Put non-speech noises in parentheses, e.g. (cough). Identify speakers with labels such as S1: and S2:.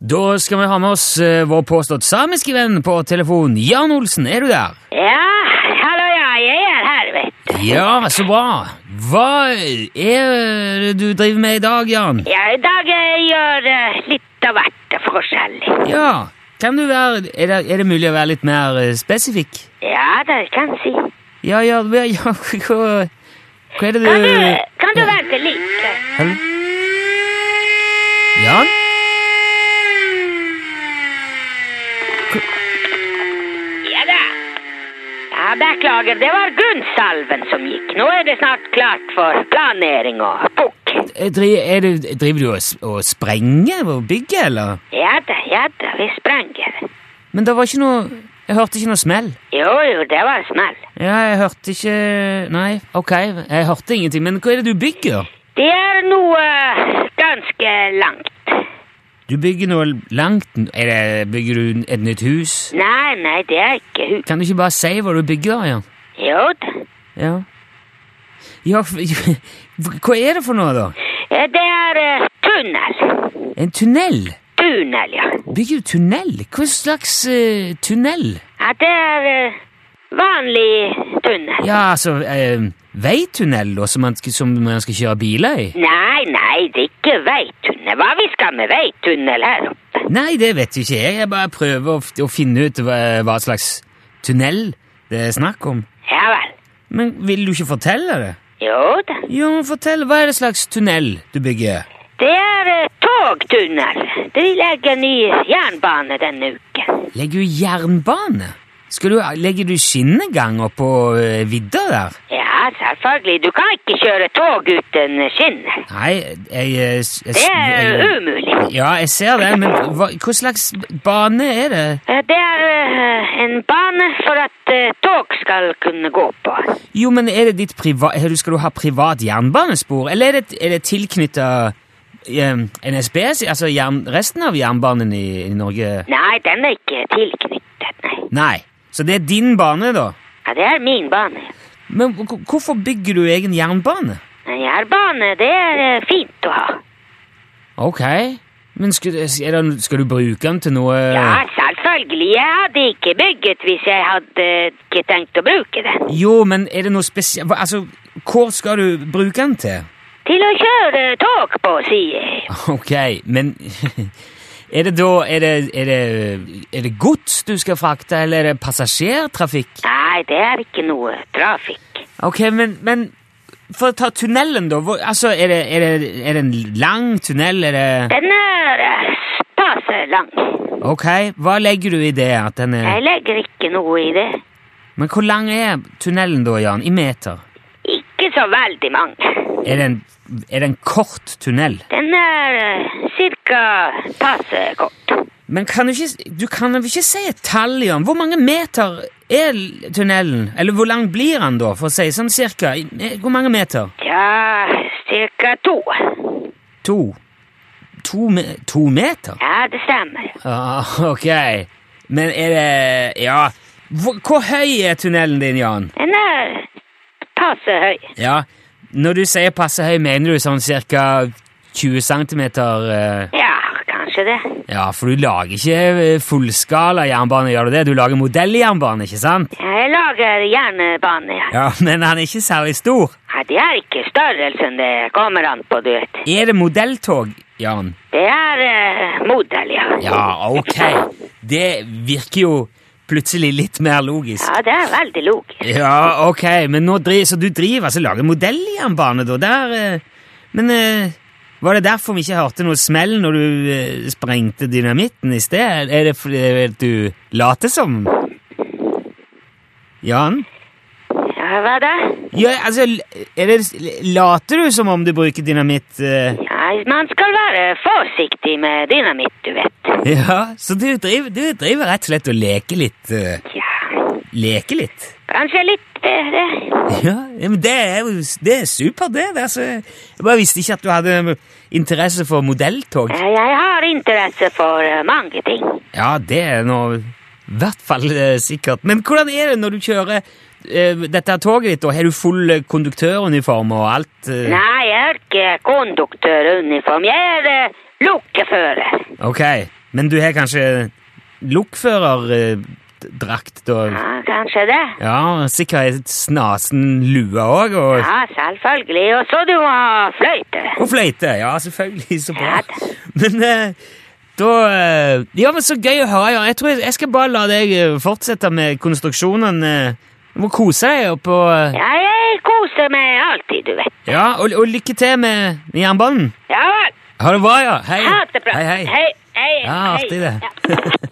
S1: Da skal vi ha med oss eh, vår påstått samiske venn på telefon. Jan Olsen, er du der?
S2: Ja, hallo, ja, jeg er her, vet du.
S1: Ja, så bra. Hva er det du driver med i dag, Jan?
S2: Ja, i dag eh, gjør eh, litt av hvert forskjellig.
S1: Ja, kan du være, er det, er det mulig å være litt mer eh, spesifikk?
S2: Ja, det kan si.
S1: Ja, ja, ja, ja (laughs) hva, hva er det du
S2: Kan du, kan du være til like?
S1: Hel- Jan?
S2: Ja da. Ja, beklager, det var Gunnsalven som gikk. Nå er det snart klart for planering og bukk.
S1: Eh, dri- er det, driver du og, s- og sprenger og bygger, eller?
S2: Ja da, ja da, vi sprenger.
S1: Men det var ikke noe Jeg hørte ikke noe smell.
S2: Jo, jo, det var smell.
S1: Ja, jeg hørte ikke Nei, ok, jeg hørte ingenting. Men hva er det du bygger?
S2: Det er noe eh, ganske langt.
S1: Du bygger noe langt er det, Bygger du et nytt hus?
S2: Nei, nei, det er ikke hus.
S1: Kan du ikke bare si hva du bygger, Jan?
S2: Jo da.
S1: Ja. ja f- (laughs) Hva er det for noe, da?
S2: Eh, Det er eh, tunnel.
S1: En tunnel?
S2: Tunnel, ja.
S1: Bygger du tunnel? Hva slags eh, tunnel?
S2: ja det er eh, vanlig tunnel.
S1: Ja, altså eh, Veitunnel, da, som man, skal- som man skal kjøre biler i?
S2: Nei, nei, det er ikke veitunnel. Hva vi skal med veitunnel her oppe?
S1: Nei, det vet jo ikke jeg. Jeg bare prøver å, f- å finne ut hva, hva slags tunnel det er snakk om.
S2: Ja vel.
S1: Men vil du ikke fortelle det?
S2: Jo da.
S1: Jo, men fortell. Hva er det slags tunnel du bygger?
S2: Det er eh, togtunnel. De legger ny jernbane denne uken.
S1: Legger du jernbane? Skal du, legger du skinneganger på eh, vidda der?
S2: Ja, selvfølgelig. Du kan ikke kjøre tog uten skinner.
S1: Nei, jeg, eh, s- jeg, s-
S2: Det er
S1: jeg-
S2: umulig.
S1: Ja, jeg ser det, men hva, hva slags bane er det?
S2: Eh, Det er eh, en bane for at eh, tog skal kunne gå på.
S1: Jo, men er det ditt priva, er du- skal du ha privat jernbanespor, eller er det, er det tilknyttet eh, NSB, altså jern, resten av jernbanen i, i Norge?
S2: Nei, den er ikke tilknyttet, nei.
S1: Nei, så det er din bane da.
S2: Ja, det er min bane.
S1: Men hvor- hvorfor bygger du egen jernbane?
S2: En jernbane, det er eh, fint å ha.
S1: Ok, men skal, er det, skal du bruke den til noe?
S2: Ja, selvfølgelig. Jeg hadde ikke bygget hvis jeg hadde ikke tenkt å bruke den.
S1: Jo, men er det noe spesielt? Altså, hvor skal du bruke den til?
S2: Til å kjøre tog på, sier jeg.
S1: (laughs) Ok, men (laughs) er det da, er det, er det, er det gods du skal frakte, eller er det passasjertrafikk?
S2: Nei, det er ikke noe trafikk.
S1: Ok, men, men for å ta tunnelen, da. Hvor, altså, er det, er, det, er det en lang tunnel? Er det
S2: Den er eh, passe lang.
S1: Ok, hva legger du i det? at den er...
S2: Jeg legger ikke noe i det.
S1: Men hvor lang er tunnelen, da, Jan? I meter?
S2: Ikke så veldig mange.
S1: Er det en, er det en kort tunnel?
S2: Den er eh, cirka passe kort.
S1: Men kan du ikke Du kan vel ikke si et tall, Jan? Hvor mange meter er l- tunnelen? Eller hvor lang blir den, da, for å si sånn cirka? I- eh, Hvor mange meter?
S2: Ja, cirka to.
S1: To? To, me to meter?
S2: Ja, det stemmer.
S1: (laughs) Ah, ok. Men er det Ja. Hvor, hvor høy er tunnelen din, Jan?
S2: Den er passe høy.
S1: Ja, Når du sier passe høy, mener du sånn ca. 20 cm?
S2: Ja, kanskje det.
S1: eh, Ja, for du lager ikke eh, fullskala jernbane, gjør du det? Du lager modelljernbane, ikke sant?
S2: Jeg lager jernbane. Ja.
S1: Ja, (laughs) Men han er ikke særlig stor.
S2: Ja, det er ikke størrelsen det kommer an på, du vet.
S1: Er det modelltog, Jan?
S2: Det er eh, modell, ja.
S1: Ja, ok. Det virker jo plutselig litt mer logisk.
S2: Ja, det er veldig logisk.
S1: Ja, ok, men nå driver, så du driver altså lager modelljernbane, da? Der, eh, men eh, var det derfor vi ikke hørte noe smell når du eh, sprengte dynamitten i sted? Er det fordi at du later som? Jan?
S2: Ja, hva da?
S1: Ja, altså, l- er det, later du som om du bruker dynamitt? eh?
S2: Ja, man skal være forsiktig med dynamitt, du vet.
S1: Ja, så du driver, du driver rett og slett og leker litt? eh,
S2: Ja,
S1: leker litt? (laughs)
S2: kanskje litt bedre.
S1: Ja, ja, men det er jo det er super, det. det er så- jeg bare visste ikke at du hadde interesse for modelltog.
S2: Ja, Jeg har interesse for eh, mange ting.
S1: Ja, det er nå i hvert fall eh, sikkert. Men hvordan er det når du kjører eh, dette her toget ditt? da? Har du full eh, konduktøruniform og alt? eh?
S2: Nei, jeg er ikke konduktøruniform. Jeg er eh, lokkefører.
S1: Ok, Men du har kanskje eh, lokførerdrakt og
S2: Ja, kanskje det.
S1: Ja, sikkert snasen lue òg, og,
S2: Ja, selvfølgelig. Og så du må ha fløyte.
S1: og fløyte. Ja, selvfølgelig. Så bra.
S2: Ja da.
S1: Men eh, da eh, Ja, men så gøy å høre. Ja. Jeg tror jeg, jeg skal bare la deg eh, fortsette med konstruksjonen. eh. Du må kose deg opp og eh,
S2: Ja, jeg koser meg alltid, du vet.
S1: Ja, og, og lykke til med, med jernbanen.
S2: Ja vel.
S1: Ha det bra, ja. Hei.
S2: Ha det bra.
S1: Hei, hei.
S2: hei, hei,
S1: Ja,
S2: hei.
S1: artig
S2: Ja.
S1: det.